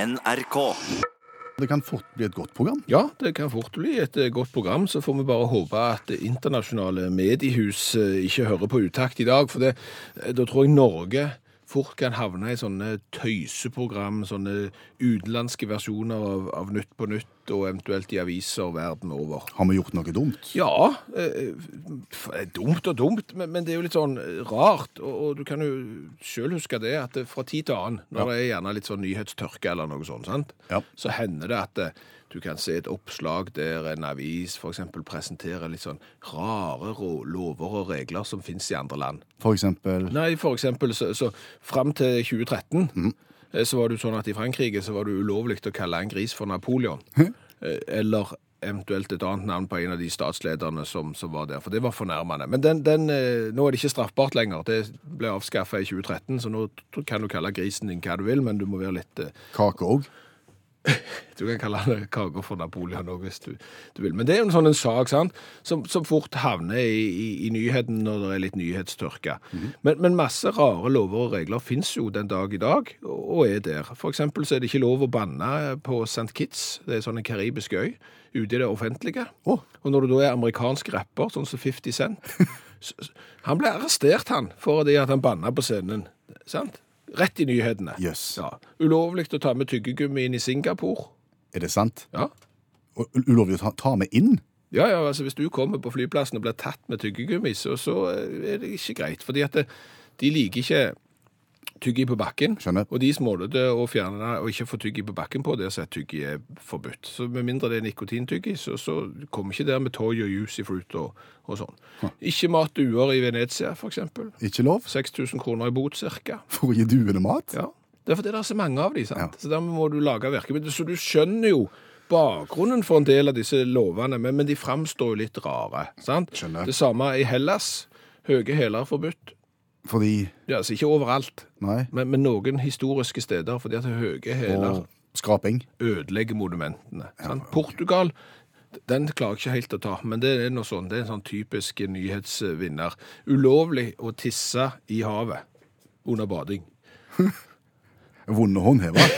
NRK. Det kan fort bli et godt program. Ja, det kan fort bli et eh, godt program. Så får vi bare håpe at internasjonale mediehus eh, ikke hører på utakt i dag. For det, eh, da tror jeg Norge fort kan havne i sånne tøyseprogram, sånne utenlandske versjoner av, av Nytt på Nytt, og eventuelt i aviser verden over. Har vi gjort noe dumt? Ja. Eh, f- eh, dumt og dumt, men, men det er jo litt sånn eh, rart. Og, og du kan jo sjøl huske det, at det fra tid til annen, når det er gjerne litt sånn nyhetstørke eller noe sånt, sant? Ja. så hender det at eh, du kan se et oppslag der en avis f.eks. presenterer litt sånn rare ro- lover og regler som fins i andre land. For eksempel Nei, for eksempel, så, så fram til 2013 eh, så var det jo sånn at i Frankrike så var det ulovlig å kalle en gris for Napoleon. Eh, Eller eventuelt et annet navn på en av de statslederne som, som var der, for det var fornærmende. Men den, den, eh, nå er det ikke straffbart lenger. Det ble avskaffa i 2013, så nå t- kan du kalle grisen din hva du vil, men du må være litt eh, kake òg. du kan kalle det kaker for Napoleon òg, hvis du, du vil. Men det er jo en sånn en sak sant? Som, som fort havner i, i, i nyheten når det er litt nyhetstørke. men, men masse rare lover og regler fins jo den dag i dag, og og er der. For eksempel så er det ikke lov å banne på St. Kitts, det er sånn en karibisk øy, ute i det offentlige. Å. Og når du da er amerikansk rapper, sånn som 50 Cent s- s- Han ble arrestert, han, fordi at han banna på scenen. Sant? Rett i nyhetene. Jøss. Ja. Ulovlig å ta med tyggegummi inn i Singapore. Er det sant? Ja. Og u- Ulovlig å ta, ta med inn? Ja, ja, altså Hvis du kommer på flyplassen og blir tatt med tyggegummi, så, så eh, er det ikke greit. fordi at det, de liker ikke tyggi på bakken. Skjønner. Og de smålete å fjerne og ikke få tyggi på bakken på, der så er tyggi er forbudt. Så Med mindre det er nikotintyggi, så, så kommer ikke der med toy og juicy fruit og, og sånn. Ikke mat duer i Venezia, f.eks. Ikke lov? 6000 kroner i bot, ca. For å gi duene mat? Ja. Det er fordi det er så mange av de, sant? Ja. Så dermed må du lage virkemidler. Så du skjønner jo bakgrunnen for en del av disse lovene, men, men de framstår jo litt rare, sant? Skjønner. Det samme i Hellas. Høye hæler er forbudt. Fordi Ja, altså ikke overalt, Nei. men, men noen historiske steder, fordi at høye hæler Og skraping? ødelegger monumentene. Sant? Portugal, den klarer jeg ikke helt å ta, men det er noe sånn, det er en sånn typisk nyhetsvinner. Ulovlig å tisse i havet under bading. Vonde håndhever?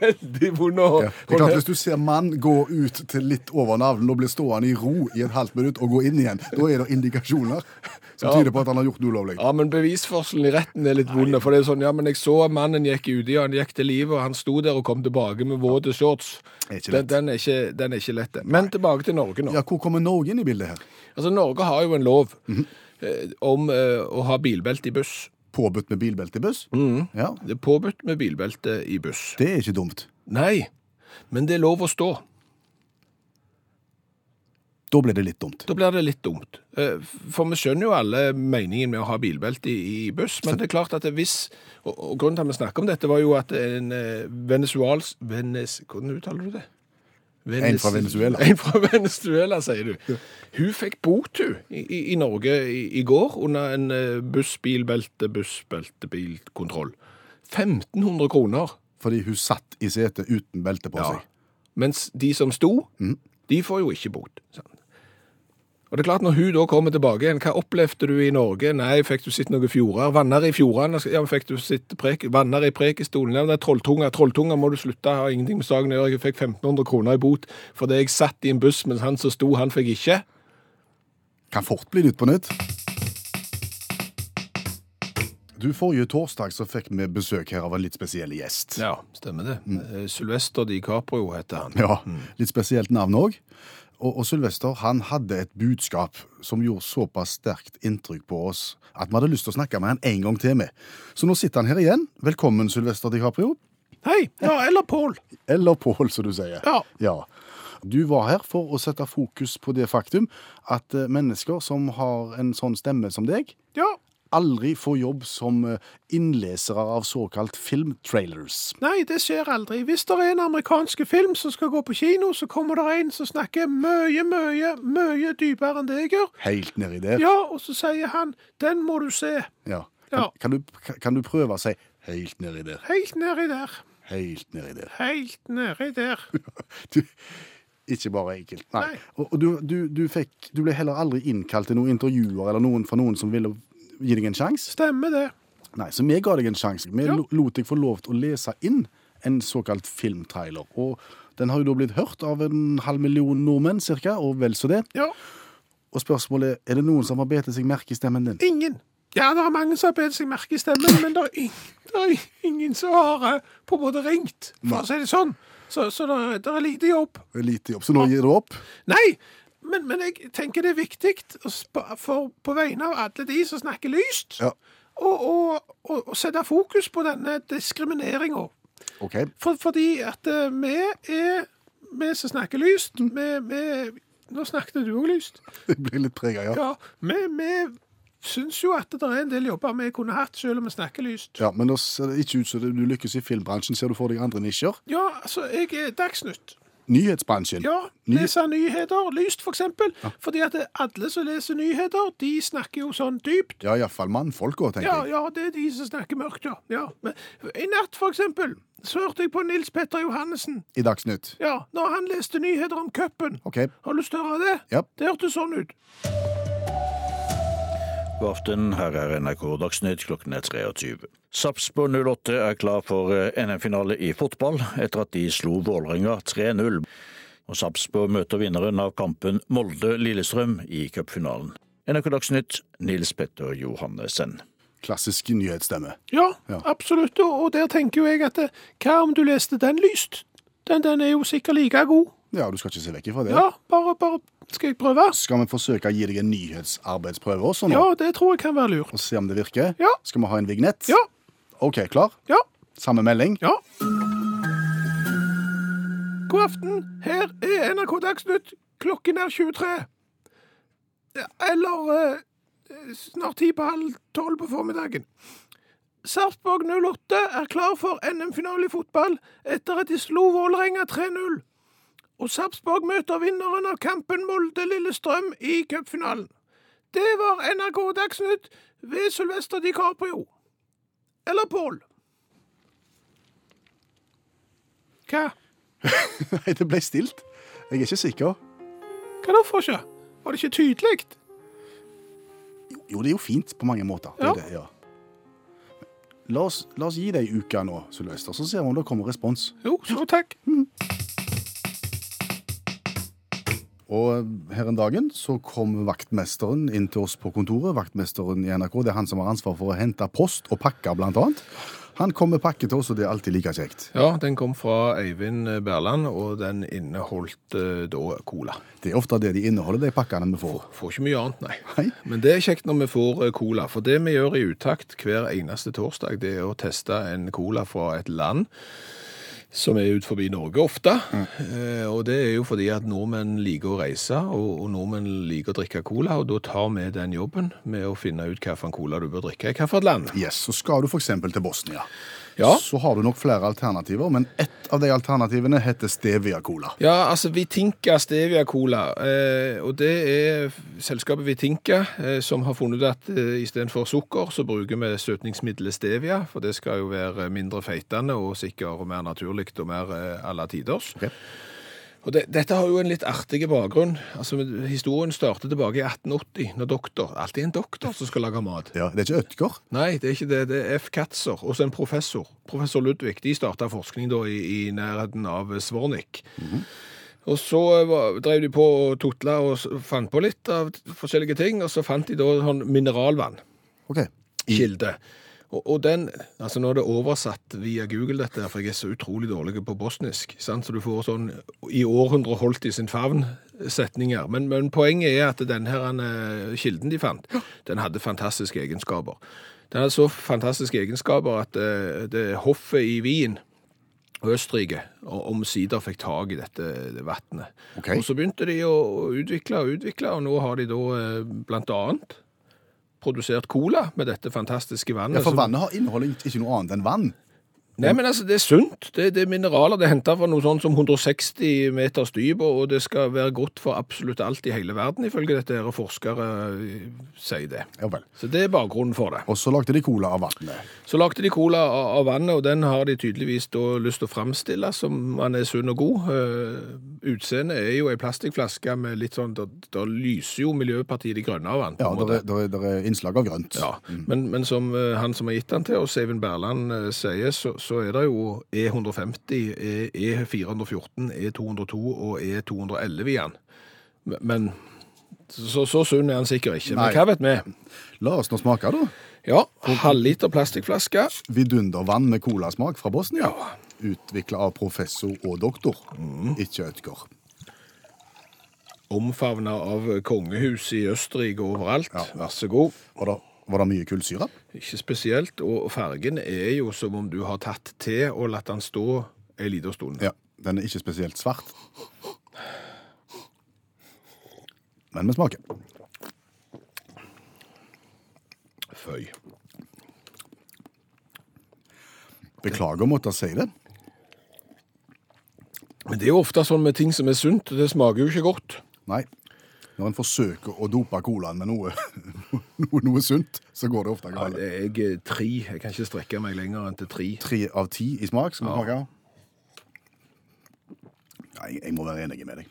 Veldig vond å Ja. Det er klart, Hvis du ser mann gå ut til litt over navlen og bli stående i ro i et halvt minutt og gå inn igjen, da er det indikasjoner som tyder på at han har gjort noe ulovlig. Ja, men bevisførselen i retten er litt vond. For det er sånn, ja, men jeg så mannen gikk uti, og han gikk til livet, og han sto der og kom tilbake med våte shorts. Det er ikke Den, lett. den, er ikke, den er ikke lett. det. Men tilbake til Norge nå. Ja, Hvor kommer Norge inn i bildet her? Altså, Norge har jo en lov Mhm. eh, om eh, å ha bilbelte i buss. Påbudt med bilbelte i buss? Mm. Ja, Det er påbudt med bilbelte i buss. Det er ikke dumt. Nei, men det er lov å stå. Da ble det litt dumt. Da blir det litt dumt. Eh, For vi skjønner jo alle meningen med å ha bilbelte i, i buss, men det er klart at det hvis og, og grunnen til at vi snakker om dette, var jo at en eh, venezuelsk Venez, Hvordan uttaler du det? En fra Venezuela. En fra Venezuela, sier du. Hun fikk bot, hun, i, i, i Norge i, i går under en eh, bussbilbelte, bussbeltebilkontroll. 1500 kroner. Fordi hun satt i setet uten belte på seg. Mens de som sto, de får jo ikke bot. sant? Og det er klart, når hun da kommer tilbake igjen, hva opplevde du i Norge? Nei, fikk du sett noen fjorder? Vanner i fjordene? Ja, men fikk du sett prek, vanner i prekestolen? Ja, men det er trolltunga. Trolltunga må du slutte, har ingenting med saken å gjøre. Jeg fikk 1500 kroner i bot fordi jeg satt i en buss mens han som sto, han fikk ikke. Kan fort bli Nytt på nytt. Du, Forrige torsdag så fikk vi besøk her av en litt spesiell gjest. Ja, stemmer det. Eh, Sylvester DiCaprio heter han. Ja, Litt spesielt navn òg. Og, og Sylvester han hadde et budskap som gjorde såpass sterkt inntrykk på oss at vi hadde lyst til å snakke med han en gang til. med. Så nå sitter han her igjen. Velkommen, Sylvester DiCaprio. Hei! Ja, eller Paul. Eller Pål, som du sier. Ja. Du var her for å sette fokus på det faktum at eh, mennesker som har en sånn stemme som deg, Ja. aldri får jobb som eh, innlesere av såkalt filmtrailers. Nei, det skjer aldri. Hvis det er en amerikansk film som skal gå på kino, så kommer det en som snakker mye, mye, mye dypere enn det jeg gjør. Helt nedi der. Ja, og så sier han 'den må du se', Ja. Ja. Kan, kan, du, kan- kan du prøve å si helt nedi der, helt nedi der, helt nedi der? helt nedi der. Du, ikke bare enkelt. Nei. Nei. Og, og du, du, du, fikk, du ble heller aldri innkalt til noen intervjuer eller noen fra noen som ville gi deg en sjanse? Stemmer det. Nei, så vi ga deg en sjanse. Vi Ja. lo- lot deg få lov til å lese inn en såkalt filmtrailer. Og den har jo da blitt hørt av en halv million nordmenn, cirka, og vel så det. Ja. Og spørsmålet er, er det noen som har betet seg merke i stemmen din? Ingen. Ja, det er mange som har bedt seg merke i stemmen, men det er, ing- det er ingen som har eh, på en måte ringt, for å si det sånn. Så, så det, er- det er lite jobb. Det er Lite jobb, så nå gir du opp? Nei, men, men jeg tenker det er viktig, å sp- for på vegne av alle de som snakker lyst, Ja. å og, og, og sette fokus på denne diskrimineringa. OK. For, fordi at eh, vi er vi som snakker lyst, Mm. vi, vi Nå snakket du òg lyst. Det blir litt prega, ja. Ja, vi, vi syns jo at det er en del jobber vi kunne hatt, selv om vi snakker lyst. ja. Men nå ser det ikke ut som du lykkes i filmbransjen. Ser du for deg andre nisjer? Ja, altså, jeg er Dagsnytt. Nyhetsbransjen. Ja, Ny- leser nyheter, lyst for eksempel. Fordi at alle som leser nyheter, de snakker jo sånn dypt. Ja, iallfall mannfolka, tenker Ja, jeg. ja, det er de som snakker mørkt, ja. ja. Men, I natt, for eksempel, så hørte jeg på Nils Petter Johannessen. I Dagsnytt. Ja, når han leste nyheter om cupen. OK. Har du lyst til å høre det? Ja. Det hørtes sånn ut. God aften, her er NRK Dagsnytt klokken er 23. Sarpsborg 08 er klar for eh, NM-finale i fotball etter at de slo Vålerenga 3-0. Og Sarpsborg møter vinneren av kampen Molde-Lillestrøm i cupfinalen. NRK Dagsnytt, Nils Petter Johannessen. Klassisk nyhetsstemme. Ja, Ja. absolutt. Og, og der tenker jo jeg at eh, hva om du leste den lyst? Den, den er jo sikkert like god. Ja, du skal ikke se vekk ifra det. Ja, bare, bare skal jeg prøve? Skal vi forsøke å gi deg en nyhetsarbeidsprøve også nå? Ja, det tror jeg kan være lurt. Og se om det virker? Ja. Skal vi ha en vignett? Ja, OK, klar? ja, Samme melding? ja. God aften, her er NRK Dagsnytt. Klokken er 23. Ja, Eller eh, snart ti på halv tolv på formiddagen. Sarpsborg 08 er klar for NM-finale i fotball etter at de slo Vålerenga 3-0. Og Sarpsborg møter vinneren av kampen Molde-Lillestrøm i cupfinalen. Det var NRK Dagsnytt ved Sylvester DiCaprio. Eller Pål. Hva? Nei, det ble stilt. Jeg er ikke sikker. Hva da for ikke? Var det ikke tydelig? Jo, det er jo fint på mange måter. Det er Ja. Det, ja. La, oss, la oss gi det ei uke nå, Sylvester, så ser vi om det kommer respons. Jo, så takk. Og eh, her en dagen så kom vaktmesteren inn til oss på kontoret. Vaktmesteren i NRK, det er han som har ansvar for å hente post og pakker, blant annet. Han kom med pakke til oss, og det er alltid like kjekt. Ja, den kom fra Øyvind Berland, og den inneholdt eh, da cola. Det er ofte det de inneholder, de pakkene vi får. Får ikke mye annet, nei. Nei. Men det er kjekt når vi får eh, cola, for det vi gjør i utakt hver eneste torsdag, det er å teste en cola fra et land som er ut forbi Norge ofte. Eh, og det er jo fordi at nordmenn liker å reise, og, og nordmenn liker å drikke cola, og da tar vi den jobben med å finne ut hvilken cola du bør drikke i hvilket land. Yes, Så skal du f.eks. til Bosnia. Ja. Så har du nok flere alternativer, men ett av de alternativene heter Stevia Cola. Ja, altså Vitinka Stevia Cola, eh, og det er f- selskapet Vitinka eh, som har funnet ut at eh, istedenfor sukker, så bruker vi søtningsmiddelet Stevia, for det skal jo være mindre feitende og sikkert mer naturlig og mer eh, alle tiders. Ok. Og det, dette har jo en litt artig bakgrunn. Altså, Historien starter tilbake i 1880, når doktor Alltid en doktor som skal lage mat. Ja, Det er ikke Ødgar? Nei, det er ikke det. Det er F. Katzer og så en professor. Professor Ludvig. De starta forskning da i, i nærheten av Svornik. Og så eh, var- drev de på og tutla og s- fant på litt av t- forskjellige ting, og så fant de da sånn mineralvann. Ok. Kilde. Og, og den Altså, nå er det oversatt via Google, dette, her, for jeg er så utrolig dårlig på bosnisk, sant? så du får sånn i århundre holdt i sin favn-setninger. Men, men poenget er at den her eh, kilden de fant, den hadde fantastiske egenskaper. Den hadde så fantastiske egenskaper at eh, det hoffet i Wien og Østerrike og omsider fikk tak i dette vannet. Ok. Og så begynte de å å utvikle og utvikle, og nå har de da eh, blant annet produsert cola med dette fantastiske vannet. Ja, For som- vannet har inneholder ikke- ikke noe annet enn vann. Nei, men altså, det er sunt. Det, det er mineraler. Det er henta fra noe sånn som 160 meters dyp, og og det skal være godt for absolutt alt i hele verden, ifølge dette her, og forskere eh, sier det. Ja vel. Så det er bakgrunnen for det. Og så lagde de cola av vannet. Så lagde de cola av av vannet, og den har de tydeligvis da lyst til å framstille som man er sunn og god. Eh, utseendet er jo ei plastikkflaske med litt sånn Da da lyser jo Miljøpartiet De Grønne av den. på Ja, Mm. en måte. der er, der er, der er innslag av grønt. Ja, men, men som eh, han som har gitt den til oss, Eivind Berland, eh, sier, så, så er det jo E150, E- E414, E202 og E211 igjen. Men- Men så, så sunn er han sikkert ikke. Nei. Men hva vet vi? La oss nå smake, da. Ja, halvliter plastikkflaske. Vidundervann med colasmak fra Bosnia. Utvikla av professor og doktor, ikke Ødgar. Omfavna av kongehus i Østerrike og overalt. Ja. Vær så god. Var, det- var det mye kullsyre? Ikke spesielt. Og fargen er jo som om du har tatt te og latt den stå en liten stund. Ja. Den er ikke spesielt svart. Men vi smaker. Føy. Beklager å måtte si det. Men det er jo ofte sånn med ting som er sunt. Det smaker jo ikke godt. Nei. Når en forsøker å dope colaen med noe, noe, noe sunt, så går det ofte Ja, galt. jeg er tre. Jeg kan ikke strekke meg lenger enn til tre. Tre av ti i smak, skal vi smake. Ja, jeg, jeg må være enig med deg.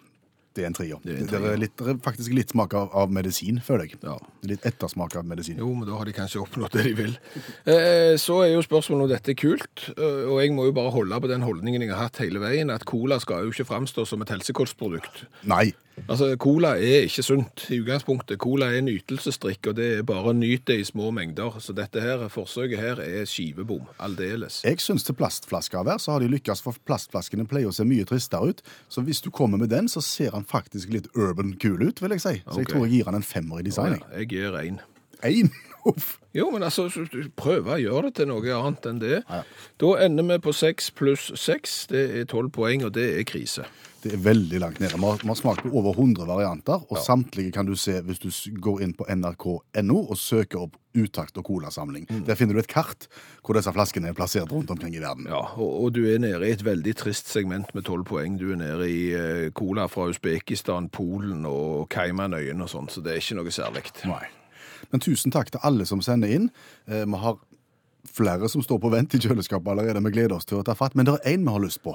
Det er en trier. Det er er, en trier. litt, det er faktisk litt smak av, av medisin, føler jeg. Ja. Litt ettersmak av medisin. Jo, men da har de kanskje oppnådd det de vil. Eh, så er jo spørsmålet om dette er kult, eh, og jeg må jo bare holde på den holdningen jeg har hatt hele veien, at cola skal jo ikke framstå som et helsekostprodukt. Nei. Altså, cola er ikke sunt i utgangspunktet. Cola er en ytelsesdrikk, og det er bare å nyte det i små mengder. Så dette her, forsøket her er skivebom. Aldeles. Jeg syns til plastflasker hver, så har de lykkes, for plastflaskene pleier å se mye tristere ut. Så hvis du kommer med den, så ser han faktisk litt urban cool ut, vil jeg si. Så jeg Ok. tror jeg gir han en femmer i Ja, design. jeg gir en. Én! Uff. Jo, men altså, prøve å gjøre det til noe annet enn det. Da ender vi på seks pluss seks. Det er tolv poeng, og det er krise. Det er veldig langt nede. Vi har, vi har smakt på over 100 varianter, og samtlige kan du se hvis du s- går inn på nrk.no og søker opp Utakt og colasamling. Der finner du et kart hvor disse flaskene er plassert rundt omkring i verden. Ja, og, og du er nede i et veldig trist segment med tolv poeng. Du er nede i eh, cola fra Usbekistan, Polen og Caymanøyene og sånn, så det er ikke noe særlig. Nei. Men tusen takk til alle som sender inn. Eh, Vi har flere som står på vent i kjøleskapet allerede. Vi gleder oss til å ta fatt, men det er én vi har lyst på.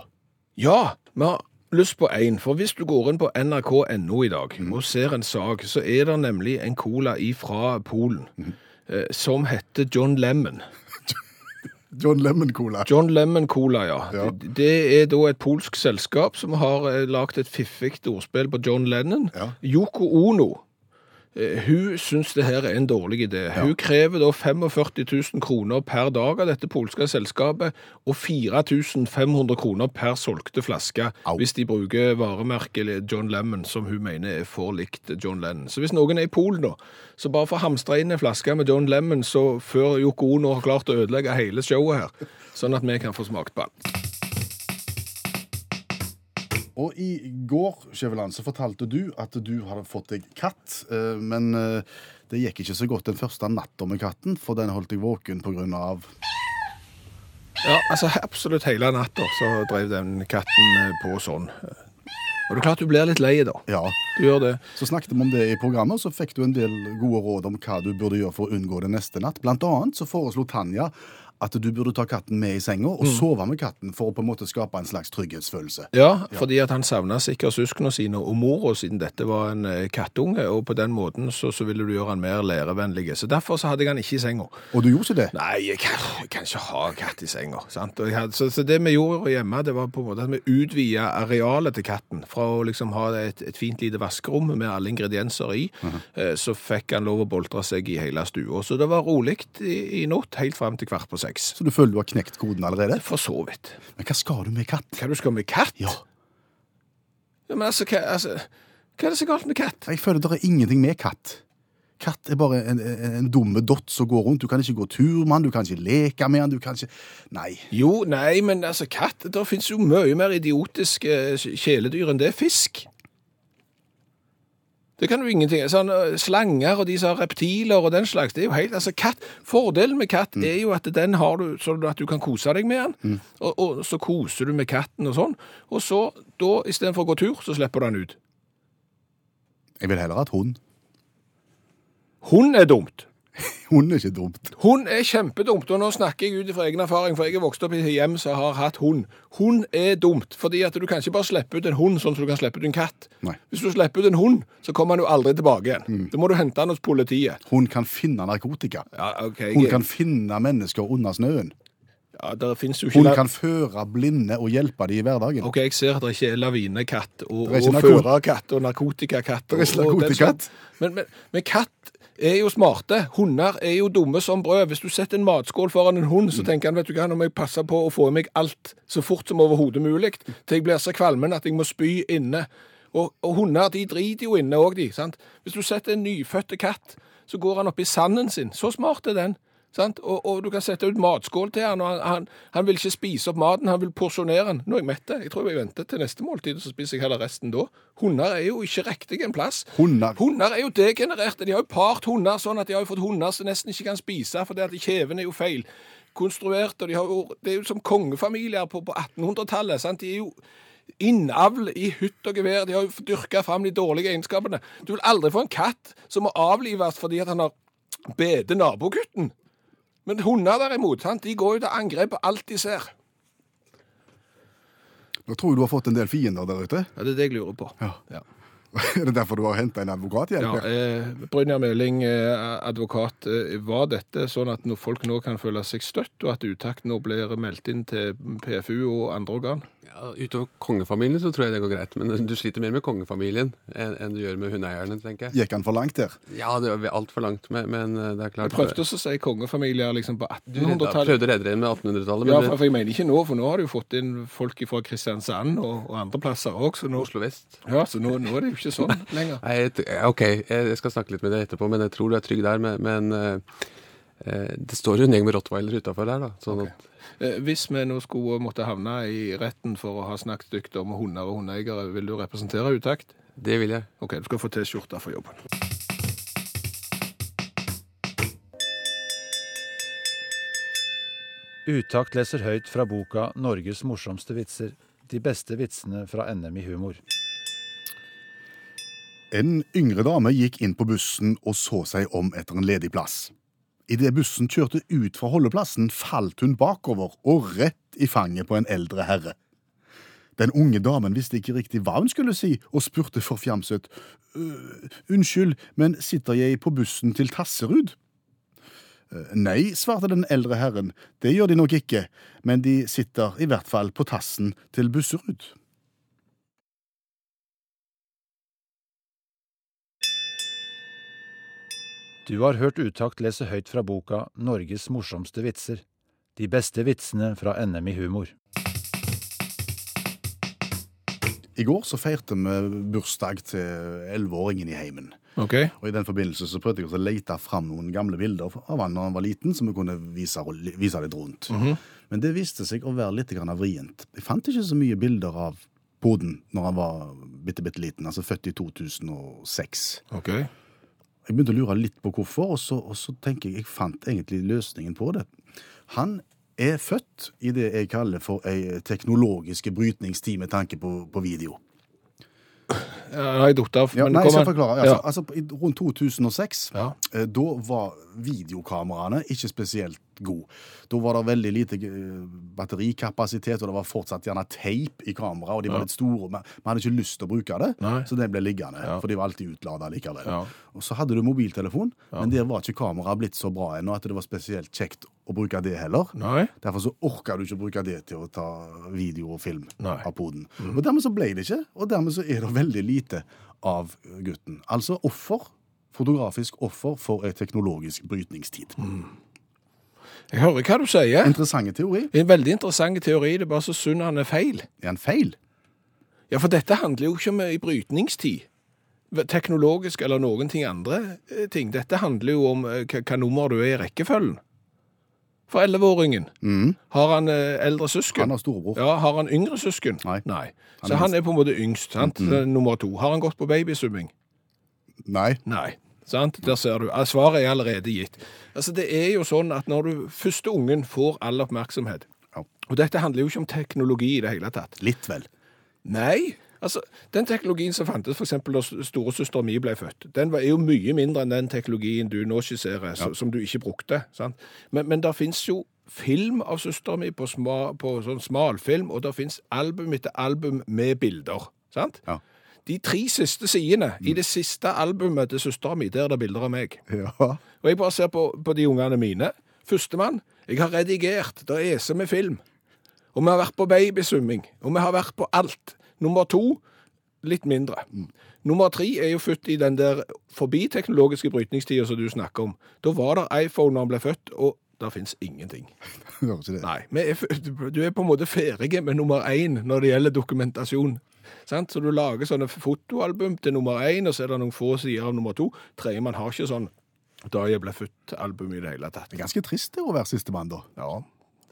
Ja, vi har lyst på én, for hvis du går inn på nrk.no i dag Mhm. og ser en sak, så er det nemlig en cola fra Polen Mhm. eh, som heter John Lemon. John Lemon Cola. John Lemon Cola, ja. Ja. Det, det er da et polsk selskap som har eh, lagt et fiffig ordspill på John Lennon. Ja. Yoko Ono. eh, Hun syns det her er en dårlig idé. Hun krever da 45 000 kroner per dag av dette polske selskapet, og 4500 kroner per solgte flaske, Au. hvis de bruker varemerket John Lemon, som hun mener er for likt John Lennon. Så hvis noen er i Polen, da, så bare få hamstra inn en flaske med John Lemon, så før Yoko Ono har klart å ødelegge hele showet her, sånn at vi kan få smakt på den. Og i går Skjæveland, så fortalte du at du hadde fått deg katt, eh, men eh, det gikk ikke så godt den første natta med katten, for den holdt deg våken pga. Ja, altså absolutt hele natta så drev den katten eh, på sånn. Og det er klart du blir litt lei, da. Ja. Du gjør det. Så snakket vi om det i programmet, og så fikk du en del gode råd om hva du burde gjøre for å unngå det neste natt. Blant annet så foreslo Tanja at du burde ta katten med i senga og sove med katten for å på en måte skape en slags trygghetsfølelse. Ja, fordi at han savna sikkert søsknene sine og mora, siden dette var en eh, kattunge. Og på den måten så, så ville du gjøre han mer lærevennlig. Så derfor så hadde jeg han ikke i senga. Og du gjorde ikke det? Nei, jeg kan, jeg kan ikke ha katt i senga. Sant? Og jeg hadde, så, så det vi gjorde hjemme, det var på en måte at vi utvida arealet til katten. Fra å liksom ha et, et fint lite vaskerom med alle ingredienser i, eh, så fikk han lov å boltre seg i hele stua. Så det var rolig i, i natt, helt fram til kvart på seks. Så du føler du har knekt koden allerede? For så vidt. Men hva skal du med katt? Hva du skal med katt? Ja. Ja, men altså, hva, altså, hva er det så galt med katt? Jeg føler det er ingenting med katt. Katt er bare en, en, en dumme dott som går rundt. Du kan ikke gå tur med den, du kan ikke leke med den, du kan ikke Nei. Jo, nei, men altså, katt Det fins jo mye mer idiotiske eh, kjæledyr enn det er fisk. Det kan jo ingenting sånn, eh, Slanger og de som har reptiler og den slags. det er jo helt, altså katt, Fordelen med katt er jo at den har du sånn at du kan kose deg med den. Og, og så koser du med katten og sånn. Og så, da, istedenfor å gå tur, så slipper du den ut. Jeg vil heller ha et hund. Hund er dumt. Hun er ikke dumt. Hund er kjempedumt, og nå snakker jeg ut fra egen erfaring, for jeg er vokst opp i et hjem som har hatt hund. Hund er dumt, fordi at du kan ikke bare slippe ut en hund sånn som du kan slippe ut en katt. Nei. Hvis du slipper ut en hund, så kommer han jo aldri tilbake igjen. Mm. Da må du hente han hos politiet. Hun kan finne narkotika. Ja, ok. Hun kan finne mennesker under snøen. Ja, der finnes jo ikke... Hun la- kan føre blinde og hjelpe dem i hverdagen. Ok, jeg ser at det ikke er lavinekatt og, er ikke og narko- førerkatt og narkotikakatt. Det er ikke og- og den narkotikatt. slags. Men, men, men katt er jo smarte. Hunder er jo dumme som brød. Hvis du setter en matskål foran en hund, så tenker han vet du hva, nå må jeg passe på å få i meg alt så fort som overhodet mulig, til jeg blir så kvalmen at jeg må spy inne. Og, og hunder de driter jo inne òg, de. sant? Hvis du setter en nyfødte katt, så går han oppi sanden sin. Så smart er den. Sant? Og, og du kan sette ut matskål til han, og han, han, han vil ikke spise opp maten, han vil porsjonere den. Nå er jeg mett. Jeg tror jeg venter til neste måltid, og så spiser jeg heller resten da. Hunder er jo ikke riktig en plass. Hunder. Hunder er jo degenererte. De har jo part hunder sånn at de har jo fått hunder som nesten ikke kan spise, fordi at kjeven er jo feil konstruert, og de har jo, det er jo som kongefamilier på, på 1800-tallet. sant? De er jo innavl i hytt og gevær. De har jo dyrka fram de dårlige egenskapene. Du vil aldri få en katt som må avlives fordi at han har bede nabogutten. Men hunder derimot, sant? de går jo til angrep på alt de ser. Nå tror jeg du har fått en del fiender der ute. Ja, Det er det jeg lurer på. Ja. Er det derfor du har henta en advokathjelp? Ja, her? eh, Brynjar Meling, eh, advokat, eh, var dette sånn at når folk nå kan føle seg støtt, og at utakt nå blir meldt inn til PFU og andre organ? Ja, utover kongefamilien så tror jeg det går greit, men du sliter mer med kongefamilien enn, enn du gjør med hundeeierne, tenker jeg. Gikk han for langt der? Ja, det er altfor langt, men, men eh, det er klart Jeg prøvde også å si kongefamilier liksom på Du redda, 1800-tallet. prøvde å redde det med 1800-tallet, Ja, men for du- for jeg mener ikke nå, for nå har du jo fått inn folk fra Kristiansand og, og andre plasser òg, så, nå- Oslo vest ja, så nå, nå er det jo ikke sånn lenger. Nei, jeg, t- ja, OK, jeg- jeg skal snakke litt med deg etterpå, men jeg tror du er trygg der. Men, men eh, eh, det står jo en gjeng med rottweiler utafor der, da. Sånn at, Eh, Hvis vi nå skulle måtte havne i retten for å ha snakket stygt om hunder og hundeeiere, vil du representere utakt? det vil jeg. OK, du skal få T-skjorte for jobben. Utakt leser høyt fra boka 'Norges morsomste vitser'. De beste vitsene fra NM i humor. En yngre dame gikk inn på bussen og så seg om etter en ledig plass. Idet bussen kjørte ut fra holdeplassen, falt hun bakover og rett i fanget på en eldre herre. Den unge damen visste ikke riktig hva hun skulle si, og spurte forfjamset «Øh, Unnskyld, men sitter jeg på bussen til Tasserud? «Øh, Nei, svarte den eldre herren, det gjør de nok ikke, men de sitter i hvert fall på tassen til Busserud. Du har hørt Utakt lese høyt fra boka 'Norges morsomste vitser'. De beste vitsene fra NM i humor. I går så feirte vi bursdag til elleveåringen i heimen. OK? Og I den forbindelse så prøvde jeg også å lete fram noen gamle bilder av han da han var liten, som vi kunne vise, vise litt rundt. Men det viste seg å være litt grann av vrient. Jeg fant ikke så mye bilder av poden når han var bitte, bitte liten, altså født i 2006. ok. Jeg begynte å lure litt på hvorfor, og så, og så tenker jeg jeg fant egentlig løsningen på det. Han er født i det jeg kaller for ei teknologiske brytningstid med tanke på, på video. Ja, Nei, jeg datt av. Ja, men nei, kom jeg skal an. forklare. Altså, altså, i- rundt 2006, Ja. eh, da var videokameraene ikke spesielt gode. Da var det veldig lite eh, batterikapasitet, og det var fortsatt gjerne teip i kameraet, og de var litt store. Men vi hadde ikke lyst til å bruke det, Nei. så det ble liggende, Ja. for de var alltid utlada likevel. Ja. Og så hadde du mobiltelefon, men der var ikke kameraet blitt så bra ennå at det var spesielt kjekt å bruke det heller. Nei. Derfor så orka du ikke å bruke det til å ta video og film Nei. Mm. av poden. Og dermed så ble det ikke, og dermed så er det veldig lite av gutten. Altså offer. Fotografisk offer for ei teknologisk brytningstid. Mm. Jeg hører hva du sier. Interessante teori. En veldig interessant teori. Det er bare så synd han er feil. Er han feil? Ja, for dette handler jo ikke om ei brytningstid. Teknologisk eller noen ting andre eh, ting. Dette handler jo om eh, hva hva nummer du er i rekkefølgen. For 11-åringen. Har han eh, eldre søsken? Mm. Han har storebror. Ja, Har han yngre søsken? Nei. Så han er, på en måte yngst. sant? Så Nummer to. Har han gått på babysumming? Nei. Nei. Sant? Der ser du. Ah, Svaret er allerede gitt. Altså, Det er jo sånn at når du første ungen får all oppmerksomhet Ja. Og dette handler jo ikke om teknologi i det hele tatt. Litt, vel. Nei. Altså, Den teknologien som fantes f.eks. da storesøster mi ble født, den var er jo mye mindre enn den teknologien du nå skisserer, så- som du ikke brukte. sant? Men, men der fins jo film av søsteren min på, sma, på sånn smalfilm, og der fins album etter album med bilder. sant? Ja. De tre siste sidene i det siste albumet til søsteren min, der er det bilder av meg. Ja. Og jeg bare ser på, på de ungene mine. Førstemann, jeg har redigert, det eser med film. Og vi har vært på babysumming, og vi har vært på alt. Nummer to, litt mindre. Nummer tre er jo født i den der forbi teknologiske brytningstida som du snakker om. Da var det iPhone når han ble født, og der fins ingenting. Hører ikke det. Nei, vi er, f- du er på en måte ferdig med nummer én når det gjelder dokumentasjon. Sant? Så du lager sånne fotoalbum til nummer én, og så er det noen få sider av nummer to. Tredjemann har ikke sånn da jeg ble født-album i det hele tatt. Det er ganske trist det å være sistemann, da. Ja,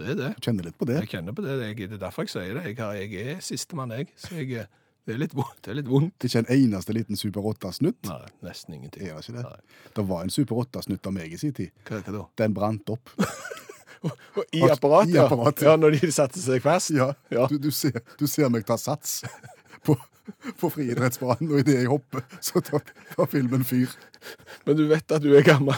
det er det. Jeg Kjenner litt på det. Jeg kjenner på det. Jeg, det er derfor jeg sier det. Jeg, har, jeg er sistemann, jeg. Så jeg, eh, det, er litt, vo- det er litt vondt. Ikke en eneste liten Super 8-snutt. Nei, nesten ingenting. Er det ikke det? Nei. Det var en Super 8-snutt av meg i sin tid. Hva, hva da? Den brant opp. I apparatet, apparatet? ja. Ja, når de satte seg fast? Ja, Ja. Du, du, ser, du ser meg ta sats på, på friidrettsbanen, og idet jeg hopper, så tar, tar filmen fyr. Men du vet at du er gammel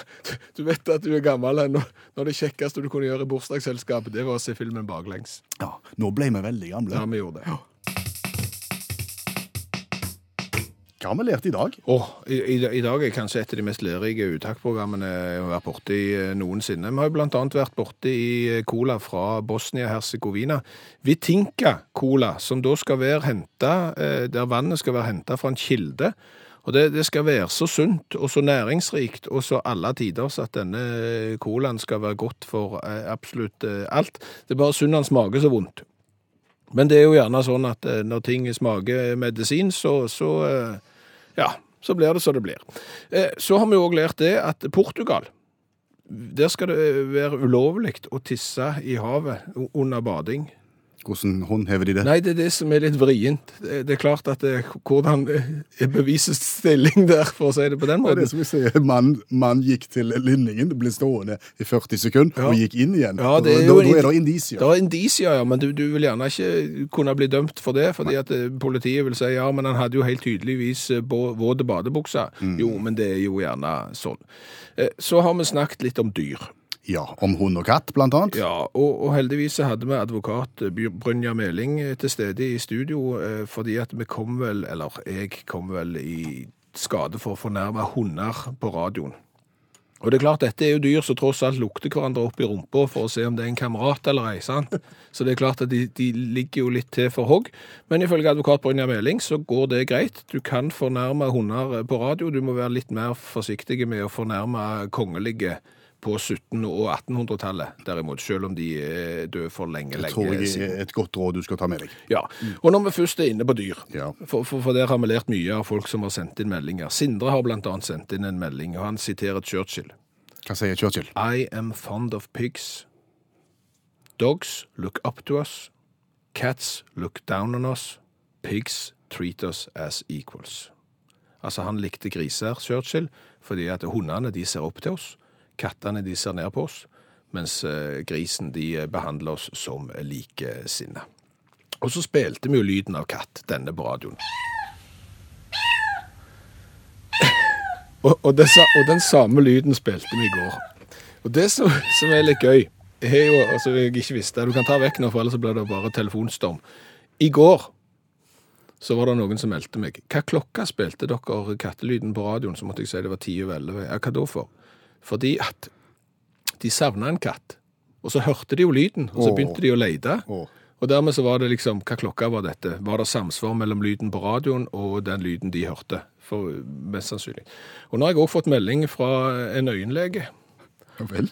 Du vet at du er gammel ennå. Når det kjekkeste du kunne gjøre i bursdagsselskapet, det var å se filmen baklengs. Ja, nå ble vi veldig gamle. Ja, vi gjorde det. Hva har vi lært i dag? Åh, i, i, I dag er kanskje et av de mest lærerike uttaksprogrammene jeg har vært borti eh, noensinne. Vi har jo blant annet vært borti i eh, cola fra Bosnia-Hercegovina. Vitinka cola, som da skal være henta eh, der vannet skal være henta fra en kilde. Og det, det skal være så sunt og så næringsrikt og så alle tiders at denne eh, colaen skal være godt for eh, absolutt eh, alt. Det er bare synd han smaker så vondt. Men det er jo gjerne sånn at eh, når ting smaker medisin, så, så eh, ja, så blir det som det blir. Eh, Så har vi òg lært det at Portugal Der skal det eh, være ulovlig å tisse i havet u- under bading. Hvordan håndhever de det? Nei, det er det som er litt vrient. Eh, Det det er klart at det, hvordan eh, er bevisets stilling der, for å si det på den Det er måten. det som vi sier, mann, mann gikk til linningen, ble stående i 40 sekunder Ja. og gikk inn igjen. Ja, det er da, jo da, da er det Det indisier. er indisier, ja, men du, du vil gjerne ikke kunne bli dømt for det, fordi at eh, politiet vil si ja, men han hadde jo helt tydeligvis eh, bå- våte badebukser. Mm. Jo, men det er jo gjerne sånn. Eh, Så har vi snakket litt om dyr. Ja, Om hund og katt, blant annet. Ja, og, og heldigvis så hadde vi advokat Bjør- Brynja Meling eh, til stede i studio, eh, fordi at vi kom vel, eller jeg kom vel i skade for å fornærme hunder på radioen. Og det er klart, dette er jo dyr som tross alt lukter hverandre opp i rumpa for å se om det er en kamerat eller ei, sant? Så det er klart at de, de ligger jo litt til for hogg. Men ifølge advokat Brynja Meling så går det greit. Du kan fornærme hunder eh, på radio, du må være litt mer forsiktig med å fornærme kongelige på 1700- og 1800-tallet, derimot, selv om de er døde for lenge, Det lenge tror jeg siden. er et godt råd du skal ta med deg. Ja, og når vi først er inne på dyr, Ja. for, for, for der har vi lært mye av folk som har sendt inn meldinger. Sindre har blant annet sendt inn en melding, og han siterer Churchill. Hva sier Churchill? I am fond of pigs. Dogs look up to us. Cats look down on us. Pigs treat us as equals. Altså, han likte griser, Churchill, fordi at hundene de ser opp til oss, kattene de ser ned på oss, mens eh, grisen de eh, behandler oss som likesinne. Og så spilte vi jo lyden av katt, denne på radioen. Og, og, det, sa- og den samme lyden spilte vi i går. Og det som, som er litt gøy, er jo altså jeg ikke visste, Du kan ta vekk nå, for ellers så blir det bare telefonstorm. I går så var det noen som meldte meg. Hva klokka spilte dere kattelyden på radioen? Så måtte jeg si det var ti over elleve. Ja, hva da for? Fordi at de savna en katt. Og så hørte de jo lyden, og så Åh. begynte de å lete. Åh. Og dermed så var det liksom Hva klokka var dette? Var det samsvar mellom lyden på radioen og den lyden de hørte? For Mest sannsynlig. Og nå har jeg òg fått melding fra en øyenlege. Ja vel?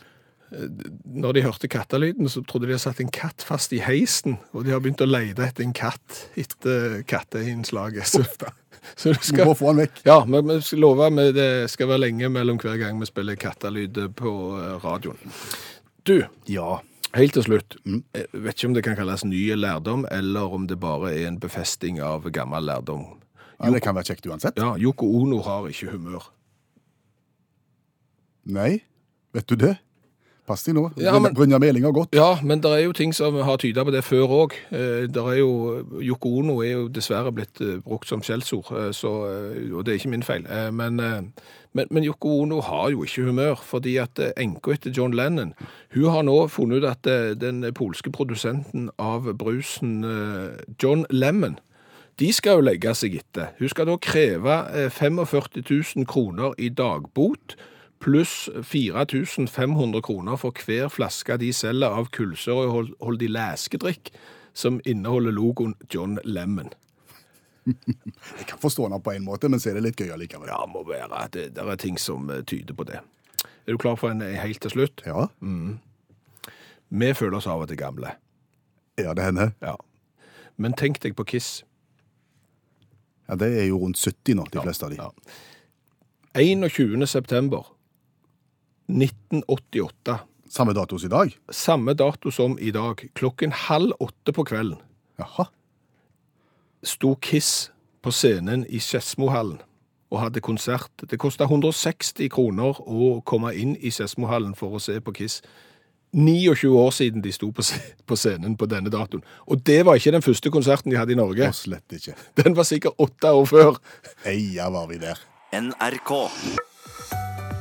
Når de hørte kattelyden, så trodde de hadde satt en katt fast i heisen, og de har begynt å lete etter en katt etter katteinnslaget. Så, så du Du må skal bare få han vekk. Ja, men vi skal love at det skal være lenge mellom hver gang vi spiller kattelyd på eh, radioen. Du, Ja. Helt til slutt. Jeg vet ikke om det kan kalles nye lærdom, eller om det bare er en befesting av gammel lærdom. ja det kan være kjekt uansett. Ja, Yoko Ono har ikke humør. Nei, vet du det? Pass deg nå. Ja, men- Brynja Meling har gått. Ja, men det er jo ting som har tyda på det før Eh, òg. Yoko Ono er jo dessverre blitt eh, brukt som skjellsord, eh, så, eh, og det er ikke min feil. Eh, Men, eh, men, men Yoko Ono har jo ikke humør, fordi at eh, enka etter John Lennon hun har nå funnet ut at eh, den polske produsenten av brusen eh, John Lemon de skal jo legge seg etter. Hun skal da kreve eh, 45 000 kroner i dagbot, pluss 4500 kroner for hver flaske de selger av kullsørøyholdig leskedrikk som inneholder logoen John Lemon. Jeg kan forstå henne på en måte, men så er det litt gøy allikevel. Ja, må være. Det, det er ting som eh, tyder på det. Er du klar for en eh, helt til slutt? Ja, Vi føler oss av og til gamle. er det henne? Ja. Men tenk deg på Kiss. Ja, Det er jo rundt 70 nå, de fleste av de. Ja. 21. september 1988. Samme dato som i dag? Samme dato som i dag, klokken halv åtte på kvelden, Jaha. sto Kiss på scenen i Skedsmohallen og hadde konsert. Det kosta 160 kroner å komme inn i Skedsmohallen for å se på Kiss. 29 år siden de sto på sc- på scenen på denne datoen. Og det var ikke den første konserten de hadde i Norge. Og slett ikke. Den var sikkert åtte år før. Eia var vi der. NRK.